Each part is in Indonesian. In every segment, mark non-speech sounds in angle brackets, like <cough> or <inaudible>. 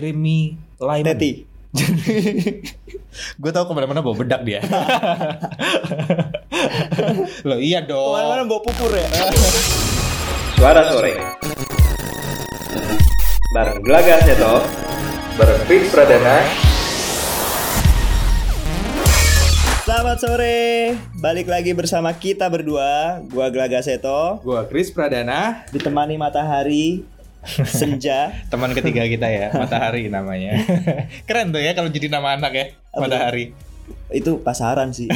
Jeremy Lyman. Teti. Gue tahu kemana-mana bawa bedak <laughs> dia. Loh iya dong. Kemana-mana bawa pupur ya. Suara Sore Bareng Gelagar Seto Bareng Fix Pradana Selamat sore. Balik lagi bersama kita berdua. Gua Gelaga Seto. Gue Chris Pradana, Ditemani matahari. Senja. teman <laughs> ketiga kita ya, Matahari namanya. <laughs> Keren tuh ya kalau jadi nama anak ya, <laughs> Matahari. Itu pasaran sih.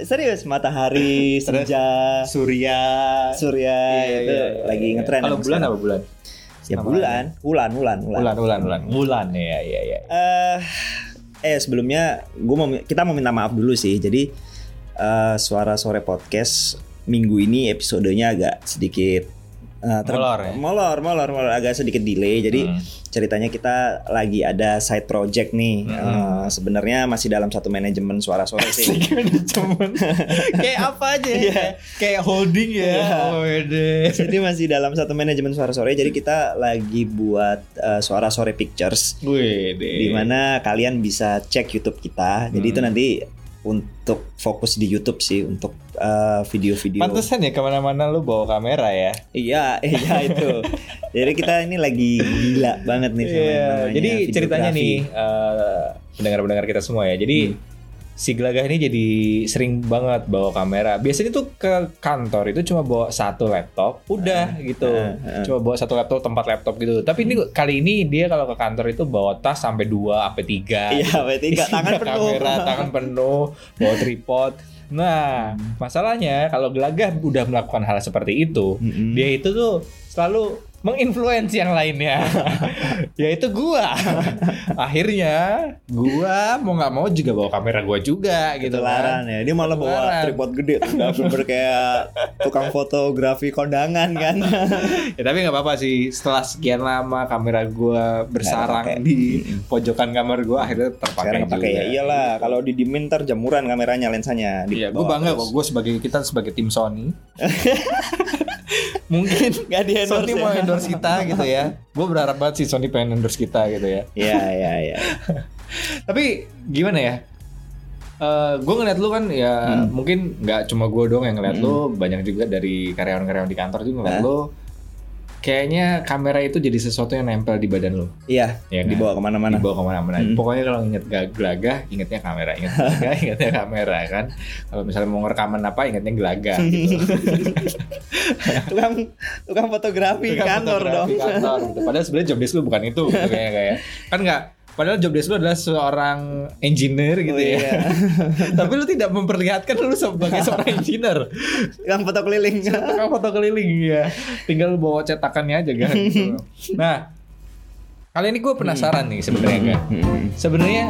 Serius. Matahari. Senja. Surya. Iya, Surya. itu lagi ngetren. Kalau emang bulan sekarang. apa bulan? Ya Nama bulan. Bulan. Bulan. Bulan. Bulan, bulan, bulan. Bulan ya, ya, <laughs> ya. eh eh sebelumnya gua mau kita mau minta maaf dulu sih. Jadi eh, suara sore podcast minggu ini episodenya agak sedikit eh, ter- Molor ya? molor, molor, molor. agak sedikit delay. Jadi Hmm. ceritanya kita lagi ada side project nih. Hmm. Eh, Sebenarnya masih dalam satu manajemen suara sore sih. Manajemen. <laughs> Kayak apa aja? ya? Kayak holding ya. Iya. Wede. <laughs> Jadi masih dalam satu manajemen suara sore. Jadi kita lagi buat eh, suara sore pictures. Wede. di mana kalian bisa cek YouTube kita. Jadi Hmm. itu nanti untuk fokus di YouTube sih untuk eh, video-video. Pantesan ya kemana-mana lu bawa kamera ya. Iya, iya itu. Jadi kita ini lagi gila banget nih sama yang Iya, namanya Jadi videografi. ceritanya nih eh, pendengar-pendengar kita semua ya. Hmm. Jadi si Gelagah ini jadi sering banget bawa kamera. Biasanya tuh ke kantor itu cuma bawa satu laptop, udah gitu. eh, eh. Cuma bawa satu laptop, tempat laptop gitu. Tapi ini Hmm. kali ini dia kalau ke kantor itu bawa tas sampai dua, sampai <laughs> tiga. Iya, berarti enggak tangan Isinya penuh. kamera, tangan penuh, bawa tripod. Nah, Hmm. masalahnya kalau Gelagah udah melakukan hal seperti itu, Mm-mm. dia gitu itu tuh selalu menginfluence yang <laughs> lainnya yaitu gua akhirnya gua mau nggak mau juga bawa kamera gua juga gitu Ketularan kan ya. Dia malah bawa Ketularan. tripod gede tuh udah bener kayak tukang fotografi kondangan kan. ya tapi nggak apa-apa sih setelah sekian lama kamera gua bersarang Nggak di Hmm. pojokan kamar gua akhirnya terpakai Sekarang juga pakai ya. Iyalah, kalau di dimin ntar jemuran kameranya lensanya. Iya, gua bangga kok gua sebagai kita sebagai tim <laughs> Sony mungkin Gak di Sony endorse. mau ya. endorse kita gitu ya gua berharap banget sih Sony pengen endorse kita gitu ya Iya, iya, iya. Tapi gimana ya? Eh gue ngeliat lu kan ya Hmm. mungkin nggak cuma gue doang yang ngeliat lu, banyak juga dari karyawan-karyawan di kantor juga ngeliat Hah? lu. Kayaknya kamera itu jadi sesuatu yang nempel di badan lu. Iya, Ya kan? dibawa kemana-mana. Dibawa kemana-mana. Hmm. Pokoknya kalau inget ga- gelagah, ingetnya kamera. <laughs> Inget gelagah, ingetnya kamera kan. Kalau misalnya mau ngerekaman apa, ingetnya gelagah. Gitu. <laughs> <laughs> tukang tukang fotografi Itu kan kantor dong. fotografi <laughs> kantor, gitu. Padahal sebenarnya job desk lu bukan itu gitu, kayak kayak. Kan nggak Padahal job desk lu adalah seorang engineer gitu Oh, ya. iya. Tapi lu tidak memperlihatkan lu <laughs> sebagai seorang engineer. Tukang foto <laughs> keliling. Tukang foto keliling ya. Tinggal lu bawa cetakannya aja <laughs> kan. gitu. Nah, kali ini gue penasaran nih sebenarnya Hmm. kan. Sebenarnya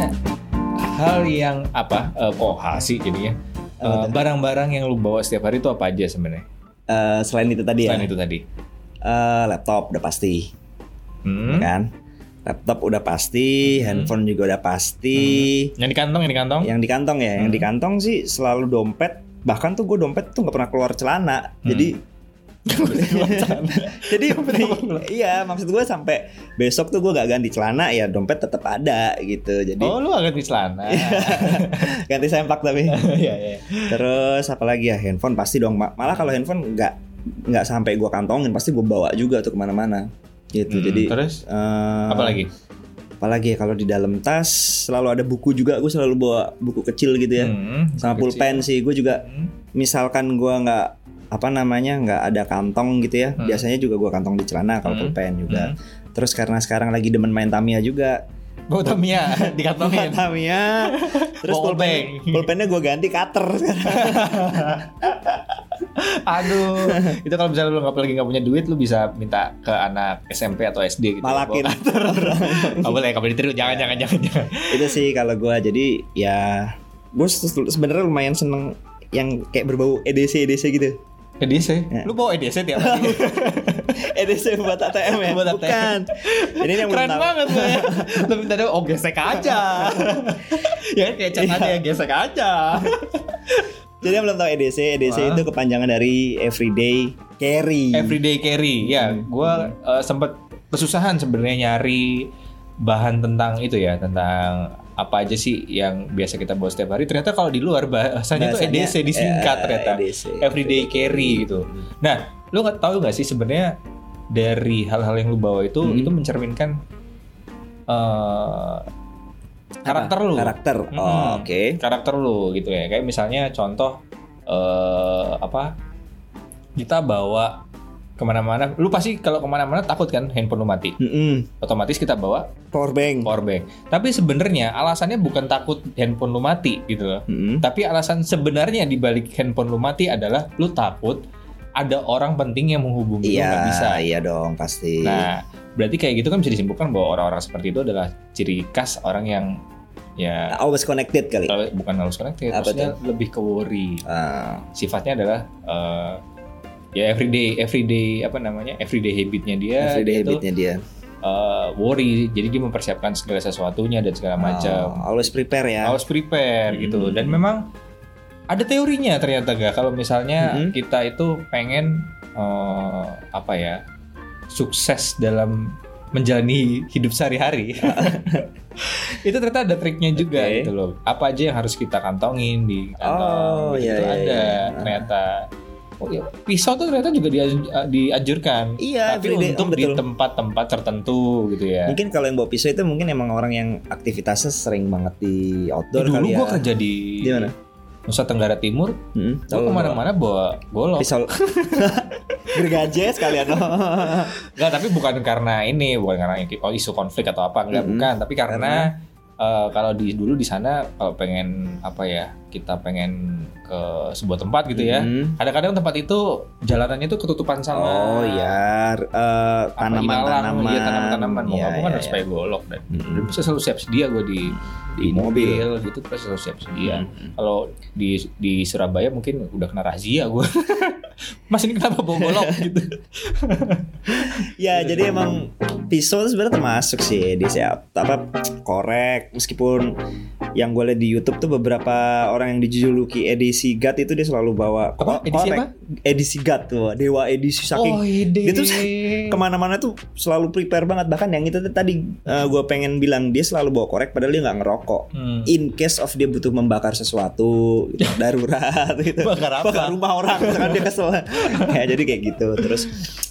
hal yang apa? eh, kok hal sih jadinya? Eh, Barang-barang yang lu bawa setiap hari itu apa aja sebenarnya? Eh, selain itu tadi ya. Selain itu tadi. eh, laptop udah pasti, Hmm. kan? Laptop udah pasti, handphone juga udah pasti. Yang di kantong, yang di kantong. Yang di kantong ya, yang Hmm. di kantong sih selalu dompet. Bahkan tuh gue dompet tuh nggak pernah keluar celana. Hmm. <laughs> Jadi <laughs> jadi iya maksud gue sampai besok tuh gue gak ganti celana ya dompet tetap ada gitu. Jadi Iya, Oh, lu agak di celana. <laughs> ganti sempak tapi. Iya, iya. Terus apalagi ya handphone pasti dong. Ma- Malah kalau handphone nggak nggak sampai gua kantongin pasti gua bawa juga tuh kemana-mana. Gitu. Hmm, Jadi terus eh, apalagi? Apalagi ya kalau di dalam tas selalu ada buku juga. Gue selalu bawa buku kecil gitu ya. Hmm, Sama kecil. pulpen sih. Gue juga Hmm. misalkan gua nggak apa namanya nggak ada kantong gitu ya. Hmm. Biasanya juga gua kantong di celana kalau Hmm. pulpen juga. Terus karena sekarang lagi demen main Tamiya juga. Bawa <laughs> Tamiya di kantongin. Tamiya. <laughs> Terus Ball pulpen, bank. pulpennya gua ganti cutter sekarang. <laughs> Aduh, itu kalau misalnya lu nggak lagi nggak punya duit, lu bisa minta ke anak SMP atau SD gitu. Malakin. Bawa- <laughs> Nggak boleh, nggak boleh ditiru. Jangan, jangan, jangan, jangan. <laughs> itu sih kalau gua jadi ya gue sebenarnya lumayan seneng yang kayak berbau EDC EDC gitu <laughs> EDC, Ya. lu bawa E EDC tiap hari. EDC buat ATM ya E Buat ATM. bukan ini <laughs> yang belum Keren tahu. banget lu <laughs> ya. Lu minta dia, oh gesek aja. ya kayak cat Iya. aja, gesek <laughs> aja. jadi yang belum tahu E EDC EDC Wah. itu kepanjangan dari Everyday Carry Hmm. Everyday carry. Ya, gua eh, sempet kesusahan sebenarnya nyari bahan tentang itu ya tentang apa aja sih yang biasa kita bawa setiap hari ternyata kalau di luar bahasanya tuh Bahasanya, EDC E disingkat eh, ternyata EDC. everyday carry gitu Hmm. nah lu nggak tahu nggak sih sebenarnya dari hal-hal yang lu bawa itu Hmm. itu mencerminkan eh karakter Apa? lu Hmm. Karakter. Oh, Mm-mm. oke. karakter lu gitu ya kayak misalnya contoh eh apa kita bawa kemana-mana lu pasti kalau kemana-mana takut kan handphone lu mati Mm-mm. otomatis kita bawa Hmm. Power bank. power bank. Tapi sebenarnya alasannya bukan takut handphone lu mati gitu loh. Mm-mm. Tapi alasan sebenarnya di balik handphone lu mati adalah lu takut ada orang penting yang menghubungi lu Iya, nggak bisa. iya dong pasti. Nah, berarti kayak gitu kan bisa disimpulkan bahwa orang-orang seperti itu adalah ciri khas orang yang ya Always connected kali. kalau bukan harus connected, Apa maksudnya lebih ke worry. Ah, Sifatnya adalah eh, ya everyday everyday apa namanya everyday habitnya dia everyday dia tuh, habitnya dia. eh, worry jadi dia mempersiapkan segala sesuatunya dan segala macam Oh, always prepare ya. harus prepare Hmm. gitu dan memang ada teorinya ternyata gak kalau misalnya Mhm. kita itu pengen eh, apa ya sukses dalam menjalani hidup sehari-hari <laughs> itu ternyata ada triknya juga Oke. gitu loh apa aja yang harus kita kantongin di kantong Oh, gitu iya, itu iya, ada iya. ternyata oh, iya. pisau tuh ternyata juga dia- dianjurkan Iya, tapi everyday, untuk oh, di betul. tempat-tempat tertentu gitu ya Mungkin kalau yang bawa pisau itu mungkin emang orang yang aktivitasnya sering banget di Eh, outdoor dulu kali ya. gua kerja di Di mana? Nusa Tenggara Timur Mm-mm. Gue kemana-mana bawa golok. Pisau. <laughs> Gergaje <laughs> sekalian. Enggak, tapi bukan karena ini, bukan karena oh, isu konflik atau apa, enggak Mm-mm. bukan, tapi karena, eh, kalau di dulu di sana kalau pengen apa ya, kita pengen ke sebuah tempat gitu ya. Mm. Kadang-kadang tempat itu jalanannya tuh ketutupan sama Oh ya, eh, apa, ilalang, tanaman-tanaman. iya, tanaman-tanaman. Mau Iya, nggak mau kan iya, harus iya. pakai golok dan Mm-mm. dan pasti selalu siap sedia gue di di Di mobil. gitu pasti selalu siap sedia. Mm. Kalau di di Surabaya mungkin udah kena razia gue. <laughs> Mas ini kenapa bawa <laughs> golok gitu? Ya jadi emang pisau tuh sebenarnya termasuk sih di siap apa korek meskipun yang gue lihat di YouTube tuh beberapa orang yang dijuluki edisi God itu dia selalu bawa ko- Apa? Edisi apa? Oh, edisi God tuh dewa edisi saking ide. dia tuh iya. kemana-mana tuh selalu prepare banget bahkan yang itu tuh tadi gue pengen bilang dia selalu bawa korek padahal dia nggak ngerokok Hmm. in case of dia butuh membakar sesuatu <laughs> gitu, darurat gitu Bakar apa? bakar rumah orang misalkan dia kesel <laughs> ya jadi kayak gitu terus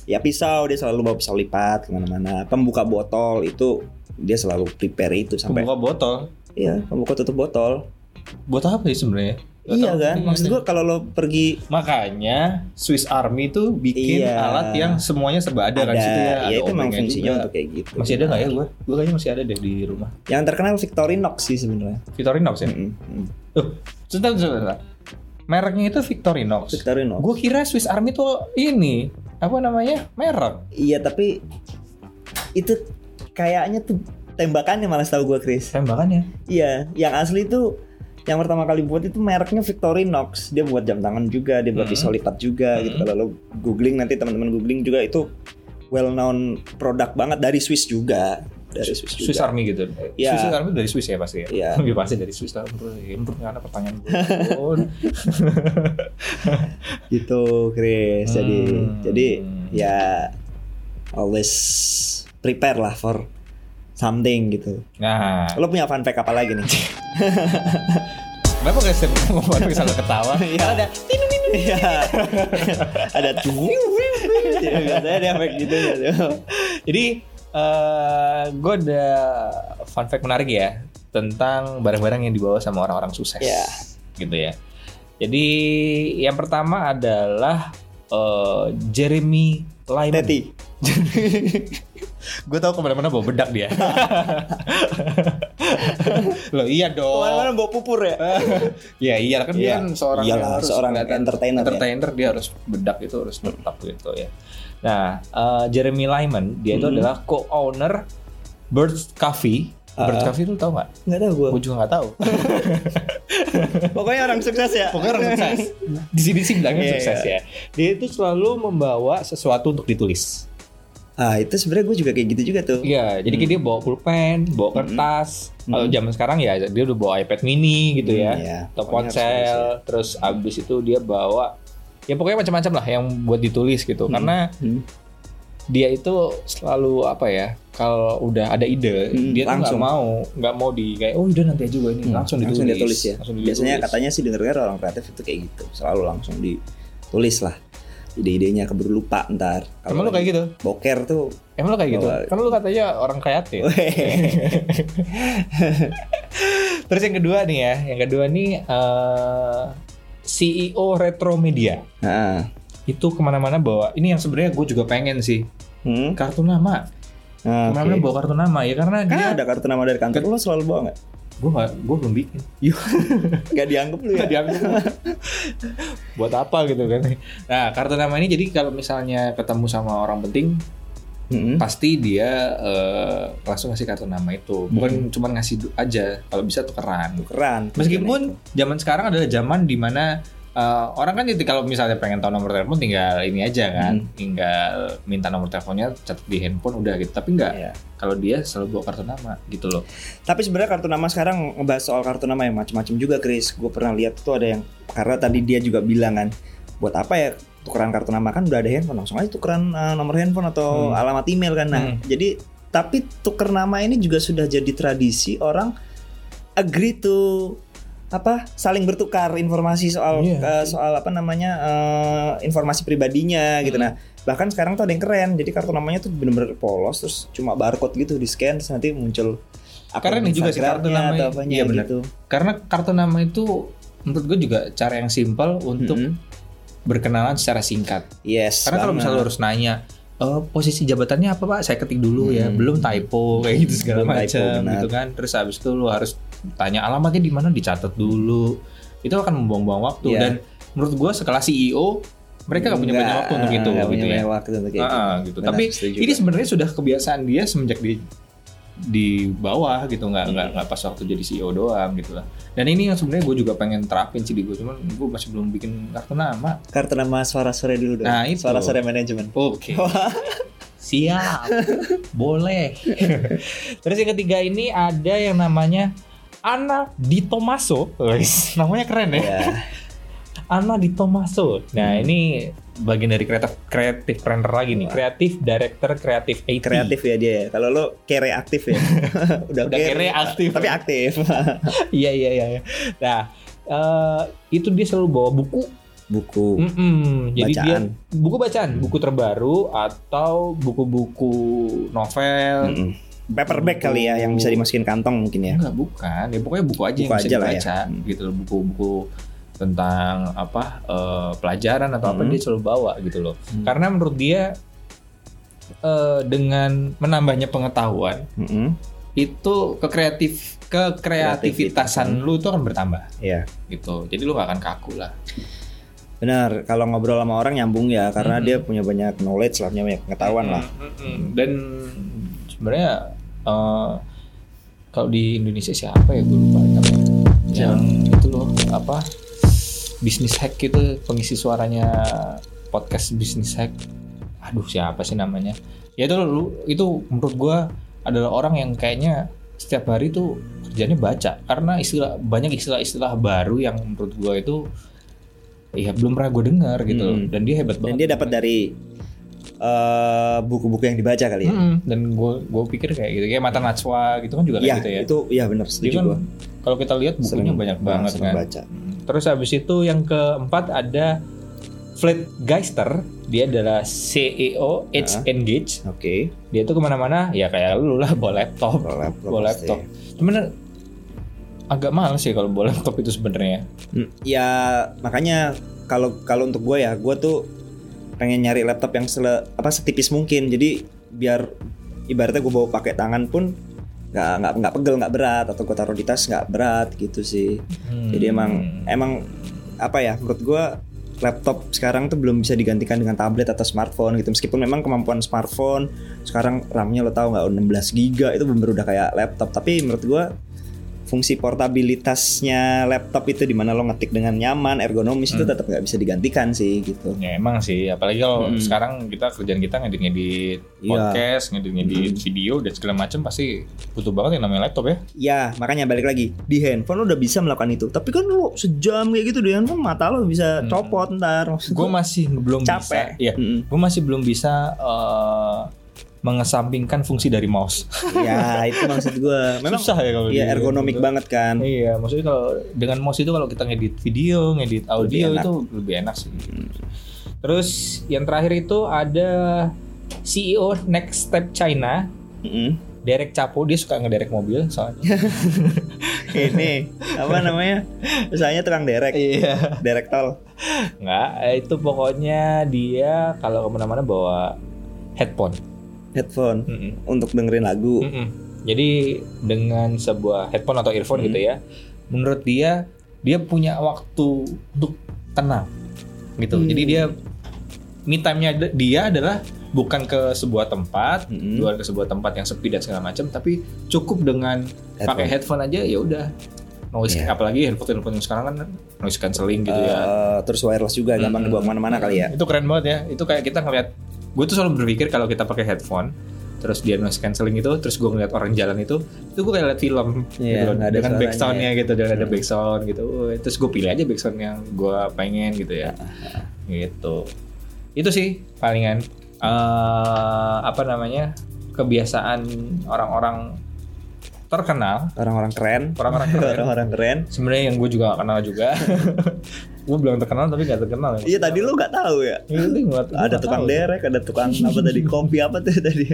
ya pisau dia selalu bawa pisau lipat kemana-mana pembuka botol itu dia selalu prepare itu sampai Pembuka botol. iya pembuka tutup botol Botol apa sih sebenarnya? Gak iya tahu. kan maksud gua kalau lo pergi Makanya Swiss Army tuh bikin Iya. alat yang semuanya serba ada, kan ada, di situ ya. ya Ada itu memang obengnya fungsinya juga. untuk kayak gitu masih ada nggak ya gue? Gue kayaknya masih ada deh di rumah. yang terkenal Victorinox sih sebenarnya Victorinox ya. Mm-mm, mm. Tuh, sebentar sebentar. sebentar. Mereknya itu Victorinox. Victorinox Gue kira Swiss Army tuh ini apa namanya merek. iya tapi itu kayaknya tuh tembakannya malah tahu gua Chris Tembakannya. Iya, yang asli itu yang pertama kali buat itu mereknya Victorinox. Dia buat jam tangan juga, dia buat Hmm. pisau lipat juga gitu. Hmm. Kalau lo googling nanti teman-teman googling juga itu well known produk banget dari Swiss juga, dari Swiss juga. Swiss Army gitu. Iya. Swiss Army dari Swiss ya pasti ya. Iya. Lebih pasti dari Swiss lah. Menurut ya, menurut nggak ada pertanyaan gue. Ampun. <laughs> Gitu, Chris. Jadi Hmm. jadi ya always prepare lah for something gitu. Nah, Lo punya fun fact apa lagi nih? Kenapa gak setiap ngomong bisa lo ketawa? Iya. Ada Iya. Ada tuh. Biasanya dia efek gitu gitu. Jadi eh gue ada fun fact menarik ya tentang barang-barang yang dibawa sama orang-orang sukses, Iya. gitu ya. Jadi yang pertama adalah eh, Jeremy Lyman. <laughs> Teti. Gue tahu kemana-mana bawa bedak dia. <laughs> Loh iya dong. Kemana-mana bawa pupur ya? ya iya kan dia <laughs> Iya. kan seorang Iyalah, yang seorang kelihatan entertainer ya. entertainer dia harus bedak itu harus tetap gitu ya nah eh, Jeremy Lyman dia itu Mhm. adalah co-owner Bird Coffee Bird Ah. Coffee lu tau nggak Enggak tahu gua. gue juga nggak tahu Pokoknya orang sukses ya. pokoknya orang sukses <laughs> <laughs> di sini sih bilangnya Iya, sukses ya dia itu selalu membawa sesuatu untuk ditulis Ah, itu sebenarnya gue juga kayak gitu juga tuh. Iya, jadi Hmm. kayak dia bawa pulpen, bawa kertas. Kalau zaman sekarang ya dia udah bawa iPad mini gitu Hmm, ya, iya. atau Pokoknya harus Hmm. ponsel. Terus abis itu dia bawa, ya pokoknya macam-macam lah yang buat ditulis gitu. Karena Hmm. dia itu selalu apa ya kalau udah ada ide Hmm, dia tuh langsung. nggak mau nggak mau di kayak oh udah nanti aja gue ini Hmm, langsung ditulis langsung ditulis ya. Langsung ditulis. Biasanya katanya sih dengar orang kreatif itu kayak gitu, selalu langsung ditulis lah ide-idenya keburu lupa ntar. emang lu kayak gitu Boker <laughs> tuh. emang lu kayak gitu Kalau- kan lu katanya orang <laughs> kreatif terus yang kedua nih ya yang kedua nih eh, E CEO Retro Media Heeh. itu kemana-mana bawa ini yang sebenarnya gue juga pengen sih Hmm. kartu nama Nah, oke. kemana-mana bawa kartu nama ya karena Kan dia ada kartu nama dari kantor lu selalu bawa nggak? gue gue belum bikin Gak dianggap lu ya? Nggak dianggap. <laughs> buat apa gitu kan nah kartu nama ini jadi kalau misalnya ketemu sama orang penting Hmm. pasti dia eh, langsung ngasih kartu nama itu bukan Hmm. cuma ngasih du- aja kalau bisa tukeran Keren. meskipun zaman sekarang adalah zaman dimana eh, orang kan jadi kalau misalnya pengen tahu nomor telepon tinggal ini aja kan tinggal minta nomor teleponnya catat di handphone udah gitu tapi nggak Iya. kalau dia selalu bawa kartu nama gitu loh Tapi sebenarnya kartu nama sekarang ngebahas soal kartu nama yang macam-macam juga, Chris. Gue pernah lihat tuh ada yang karena tadi dia juga bilang kan, buat apa ya tukeran kartu nama kan udah ada handphone langsung aja tukeran eh, nomor handphone Hmm. atau alamat email kan. Nah, Hmm. jadi tapi tuker nama ini juga sudah jadi tradisi orang agree to apa saling bertukar informasi soal Iya. eh, soal apa namanya eh, informasi pribadinya gitu Hmm. nah bahkan sekarang tuh ada yang keren jadi kartu namanya tuh bener-bener polos terus cuma barcode gitu di scan terus nanti muncul Keren akun juga sih kartu Instagramnya namanya. atau apanya Iya, bener. gitu karena kartu nama itu menurut gue juga cara yang simpel untuk Mm-mm. berkenalan secara singkat. yes Karena kalau banget. misalnya lu harus nanya "Eh, posisi jabatannya apa pak? Saya ketik dulu ya, Hmm. belum typo kayak gitu segala Belum typo, macam benar. gitu kan. Terus habis itu lu harus tanya alamatnya di mana dicatat dulu. Itu akan membuang-buang waktu Iya. dan menurut gua sekelas CEO mereka gak punya banyak Nggak, waktu untuk itu nggak gitu punya ya. banyak waktu untuk kayak Ah, gitu. gitu. Benar, Tapi setuju ini banget. sebenarnya sudah kebiasaan dia semenjak di di bawah gitu nggak nggak Hmm. nggak pas waktu jadi CEO doang gitu lah. Dan ini yang sebenarnya gue juga pengen terapin sih di gue, cuman gue masih belum bikin kartu nama. kartu nama suara sore dulu dong Nah, itu. suara sore manajemen Oke. <laughs> Siap. Boleh. <laughs> Terus yang ketiga ini ada yang namanya Ana Di Tomaso. Wes, namanya keren ya. <laughs> ya Ana Di Tomaso. Nah, ini bagian dari kreatif kreatif planner lagi nih. Wah. Kreatif director kreatif IT. kreatif ya dia ya. kalau lo kere aktif <laughs> ya udah, Udah kere aktif. tapi aktif <laughs> Iya, iya, iya. iya. Nah, eh, itu dia selalu bawa buku. buku Mm-mm. Jadi dia bacaan buku bacaan, buku terbaru atau buku-buku novel, Mm-mm. paperback kali ya yang bisa dimasukin kantong mungkin ya Enggak, bukan. Ya pokoknya buku aja Buku yang bisa aja lah ya. dibaca Hmm. gitu loh, buku-buku tentang apa eh, pelajaran atau apa Hmm. dia selalu bawa gitu loh. Hmm. Karena menurut dia eh, dengan menambahnya pengetahuan Mm-mm. itu ke kreatif kekreativitasan lu itu akan bertambah Iya. gitu. Jadi lu gak akan kaku lah. Benar, kalau ngobrol sama orang nyambung ya karena Mm-mm. dia punya banyak knowledge lah, punya banyak pengetahuan lah. Mm, mm, mm. Dan sebenarnya eh, kalau di Indonesia siapa ya gue lupa namanya. yang itu loh apa bisnis hack gitu pengisi suaranya podcast bisnis hack. Aduh siapa sih namanya? Ya itu lu- itu menurut gue adalah orang yang kayaknya setiap hari tuh kerjanya baca karena istilah banyak istilah-istilah baru yang menurut gue itu ya belum pernah gue dengar gitu loh. Mm. dan dia hebat Dan banget dia dapat dari eh, buku-buku yang dibaca kali ya. Mm-mm. dan gue gue pikir kayak gitu kayak mata Najwa gitu kan juga Iya, kayak gitu ya itu ya benar dia setuju kan gua. kalau kita lihat bukunya banyak banget sering kan baca. terus habis itu yang keempat ada Flat Geister dia adalah CEO Edge Ah. Engage Oke, dia tuh kemana-mana ya kayak lu lah bawa laptop bawa laptop. bawa pasti. laptop cuman agak males ya kalau bawa laptop itu sebenarnya Hmm, Ya makanya kalau kalau untuk gue ya, gue tuh pengen nyari laptop yang sele, apa setipis mungkin. Jadi biar ibaratnya gue bawa pakai tangan pun nggak nggak nggak pegel nggak berat atau gue taruh di tas nggak berat gitu sih. Jadi Hmm. emang emang apa ya menurut gue laptop sekarang tuh belum bisa digantikan dengan tablet atau smartphone gitu meskipun memang kemampuan smartphone sekarang RAM-nya lo tau nggak 16 giga itu bener udah kayak laptop tapi menurut gue fungsi portabilitasnya laptop itu di mana lo ngetik dengan nyaman, ergonomis Hmm. itu tetap nggak bisa digantikan sih gitu. Ya emang sih, apalagi kalau Mm-mm. sekarang kita kerjaan kita ngedit-ngedit Iya. podcast, ngedit-ngedit video dan segala macam pasti butuh banget yang namanya laptop ya. Ya, makanya balik lagi di handphone lo udah bisa melakukan itu. Tapi kan lo sejam kayak gitu di handphone mata lo bisa Hmm. copot ntar. Maksud Gue gua masih belum bisa. capek. Iya, Mm-mm. gue masih belum bisa eh, mengesampingkan fungsi dari mouse. ya itu maksud gue. <laughs> Memang Susah ya kalau di- ya ergonomik gitu. banget kan. Iya, maksudnya kalau dengan mouse itu kalau kita ngedit video, ngedit audio Lebih enak. Hmm. itu lebih enak sih. Terus yang terakhir itu ada CEO Next Step China, Mm-mm. Derek Capo, dia suka ngederek mobil soalnya. Ini apa namanya? Misalnya tukang derek, iya. derek tol. Enggak, eh, itu pokoknya dia kalau kemana-mana bawa headphone. Headphone Mm-mm. untuk dengerin lagu. Mm-mm. Jadi dengan sebuah headphone atau earphone gitu ya, menurut dia dia punya waktu untuk tenang gitu. Hmm. Jadi dia me time-nya de- dia adalah bukan ke sebuah tempat, Mm-mm. bukan ke sebuah tempat yang sepi dan segala macam, tapi cukup dengan pakai headphone aja ya udah. Noise Iya. apalagi headphone headphone yang sekarang kan noise cancelling gitu ya. Eh, terus wireless juga gampang Mm-mm. dibawa kemana-mana kali ya. Itu keren banget ya. Itu kayak kita ngeliat. Gue tuh selalu berpikir kalau kita pakai headphone, terus dia noise cancelling itu, terus gue ngeliat orang jalan itu, itu gue kayak liat film Iya, gitu loh, nggak ada dengan suaranya backsoundnya gitu, dengan ada Hmm. backsound gitu. Wih, Terus gue pilih aja backsound yang gue pengen gitu ya. Iya. Gitu. Itu sih palingan eh, apa namanya kebiasaan orang-orang terkenal, Orang-orang <laughs> keren, orang-orang <laughs> keren. orang-orang keren. Sebenarnya yang gue juga gak kenal juga. <laughs> gue belum terkenal tapi gak terkenal. ya. Iya tadi lu nggak tahu ya. Iya, gue nggak- gue ada nggak tukang tahu. ya? derek, ada tukang apa tadi kopi apa tuh <laughs> tadi.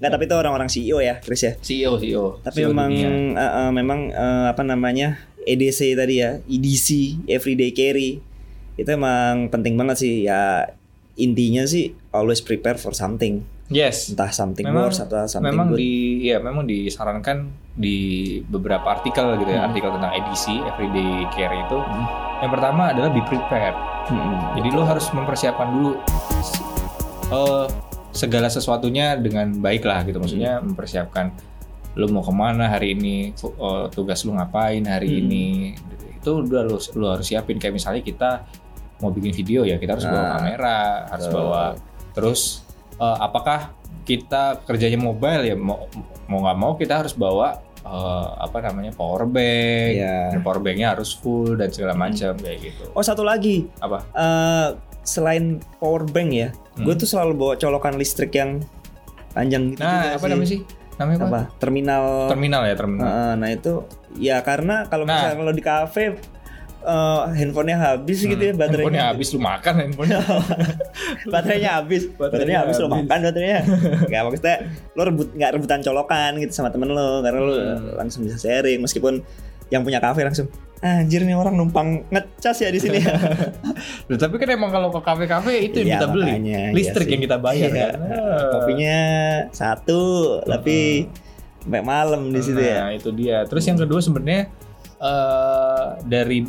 Nggak tapi itu orang-orang CEO ya, Chris ya. CEO CEO. Tapi CEO memang dunia. eh, eh, memang eh, apa namanya EDC tadi ya, EDC Everyday Carry itu emang penting banget sih ya intinya sih always prepare for something yes. entah something Memang- worse atau something Memang good. di ya memang disarankan di beberapa artikel gitu ya, Hmm. artikel tentang EDC everyday care itu. Hmm. Yang pertama adalah be prepared. Mm-mm. Jadi lo harus mempersiapkan dulu eh, segala sesuatunya dengan baik lah gitu. Maksudnya Hmm. mempersiapkan lo mau kemana hari ini, fu- eh, tugas lo ngapain hari Hmm. ini. Itu udah lo, lo harus siapin. Kayak misalnya kita mau bikin video ya, kita harus bawa Nah. kamera, harus Betul. bawa. Terus eh, apakah kita kerjanya mobile ya? Mau mau nggak mau kita harus bawa eh, apa namanya power bank. Iya. Dan power banknya harus full dan segala macam kayak gitu. Oh satu lagi Apa? Hmm. eh, selain power bank ya, gue tuh selalu bawa colokan listrik yang panjang gitu. juga Nah, apa namanya sih? Namanya apa? Apa? Terminal. Terminal ya, terminal. Heeh, nah itu ya karena kalau Nah. misalnya kalau di kafe eh, handphonenya habis gitu ya Hmm. baterainya. Handphonenya habis lu makan <laughs> handphonenya. baterainya habis, baterainya habis lo habis. makan baterainya. Enggak maksudnya lo rebut nggak rebutan colokan gitu sama temen lo karena lo Hmm. langsung bisa sharing meskipun yang punya kafe langsung "Ah, anjir nih orang numpang ngecas ya di <laughs> sini. Loh, tapi kan emang kalau ke kafe-kafe itu yang Iya, kita beli. makanya, iya Listrik sih. yang kita bayar Iya. kan. Kopinya satu tapi Hmm. sampai malam di situ ya. Nah, itu dia. Terus yang kedua sebenarnya eh dari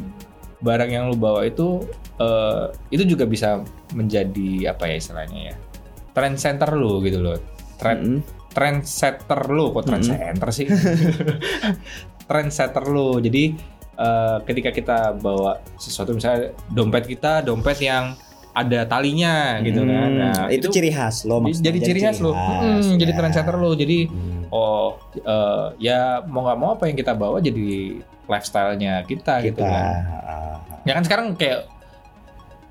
barang yang lu bawa itu eh itu juga bisa menjadi apa ya istilahnya ya. Trend center lu gitu loh. Trend Mm-mm. trendsetter lu Mm-hmm. kok trendsetter <laughs> sih trendsetter lu jadi eh, ketika kita bawa sesuatu misalnya dompet kita dompet yang ada talinya gitu kan Hmm, nah, itu, ciri khas lo jadi, maksudnya. ciri khas lu khas, Mm, jadi ya. trendsetter lu jadi Hmm. oh eh, ya mau nggak mau apa yang kita bawa jadi lifestyle-nya kita, gitu Kita, kan ah, ya kan sekarang kayak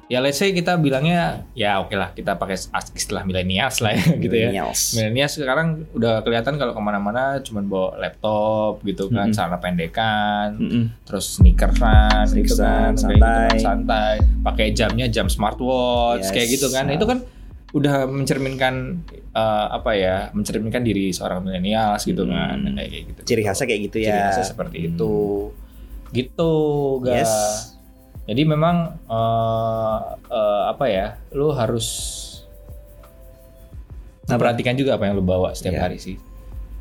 ya let's say kita bilangnya ya oke lah kita pakai istilah milenials lah ya gitu ya millennials. Milenial sekarang udah kelihatan kalau kemana-mana cuman bawa laptop gitu kan, Mm-mm. celana pendekan, Mm-mm. terus sneakersan, gitu kan, kayak gitu kan, Sneakersan, santai. santai, pakai jamnya jam smartwatch Yes. kayak gitu kan, Nah, itu kan udah mencerminkan eh, apa ya, mencerminkan diri seorang milenial gitu kan, Mm. kayak gitu. Ciri khasnya kayak gitu ya. Hmm. Ciri khasnya seperti itu, gitu guys. Yes. Jadi memang eh, eh, apa ya, lu harus memperhatikan Nah, juga apa yang lu bawa setiap Iya. hari sih.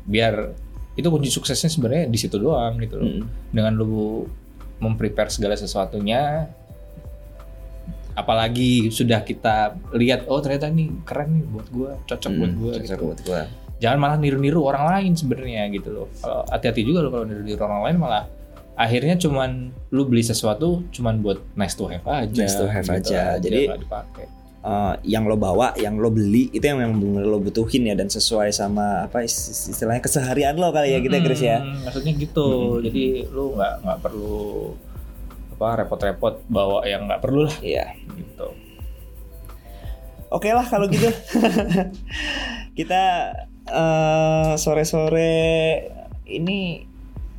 Biar itu kunci suksesnya sebenarnya di situ doang gitu loh. Mm. Dengan lu memprepare segala sesuatunya apalagi sudah kita lihat oh ternyata ini keren nih buat gua, cocok buat Mm, gua cocok gitu. buat gua. jangan malah niru-niru orang lain sebenarnya gitu loh Kalau- hati-hati juga loh kalau niru-niru orang lain malah akhirnya cuman lu beli sesuatu cuman buat nice to have aja gitu Nice to have aja. Jadi- nggak dipakai eh, yang lo bawa, yang lo beli itu yang memang benar lo butuhin ya dan sesuai sama apa is- istilahnya keseharian lo kali ya gitu ya Chris ya. Hmm. Mm, maksudnya gitu Mm-mm. jadi lu nggak nggak perlu apa repot-repot bawa yang nggak perlu lah Iya. gitu Oke lah kalau gitu. <laughs> Kita eh, sore-sore ini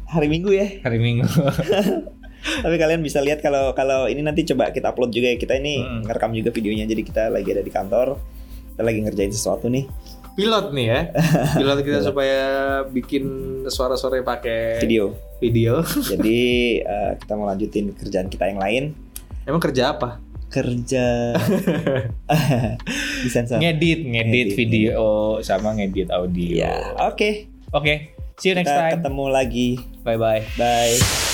hari Minggu ya. hari minggu <laughs> Tapi kalian bisa lihat kalau kalau ini nanti coba kita upload juga ya. Kita ini Hmm. ngerekam juga videonya. Jadi kita lagi ada di kantor. Kita lagi ngerjain sesuatu nih. pilot nih <laughs> ya pilot kita supaya bikin suara-suara pakai Iya. Video. video <laughs> Jadi eh, kita mau lanjutin kerjaan kita yang lain. emang kerja apa <laughs> Kerja <laughs> di sensor. ngedit ngedit Ngedit. video sama ngedit audio Ya, oke. oke see you next Kita time ketemu lagi. bye bye Bye.